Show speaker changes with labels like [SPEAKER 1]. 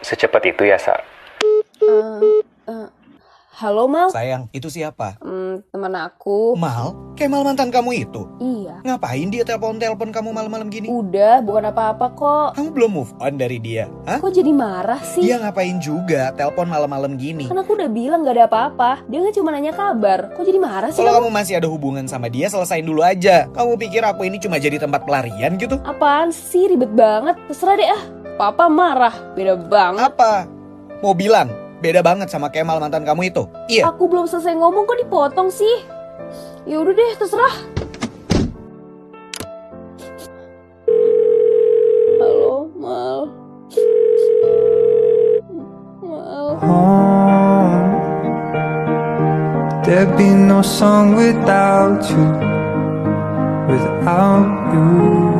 [SPEAKER 1] Secepat itu ya, Sa?
[SPEAKER 2] Eh, eh, halo Mal,
[SPEAKER 3] Sayang, itu siapa?
[SPEAKER 2] Hmm, teman aku.
[SPEAKER 3] Mal? Kemal mantan kamu itu?
[SPEAKER 2] Iya,
[SPEAKER 3] Ngapain dia telepon-telepon kamu
[SPEAKER 2] Oh.
[SPEAKER 3] malam-malam gini?
[SPEAKER 2] udah bukan apa-apa kok.
[SPEAKER 3] Kamu belum move on dari dia, hah? Iya.
[SPEAKER 2] Kok jadi marah sih?
[SPEAKER 3] Dia ngapain juga telepon malam-malam gini?
[SPEAKER 2] Kan aku udah bilang gak ada apa-apa. Dia kan cuma nanya kabar. Kok jadi marah sih
[SPEAKER 3] Kalau
[SPEAKER 2] kamu?
[SPEAKER 3] kamu masih ada hubungan sama dia, selesain dulu aja. Kamu pikir aku ini cuma jadi tempat pelarian gitu?
[SPEAKER 2] Apaan sih ribet banget? Terserah deh ah. Papa marah, beda banget.
[SPEAKER 3] Apa? Mau bilang, beda banget sama Kemal mantan kamu itu. Iya.
[SPEAKER 2] Aku belum selesai ngomong kok dipotong sih. Ya udah deh, terserah. Halo Mal. Mal.
[SPEAKER 4] home. There'd be no song without you, without you.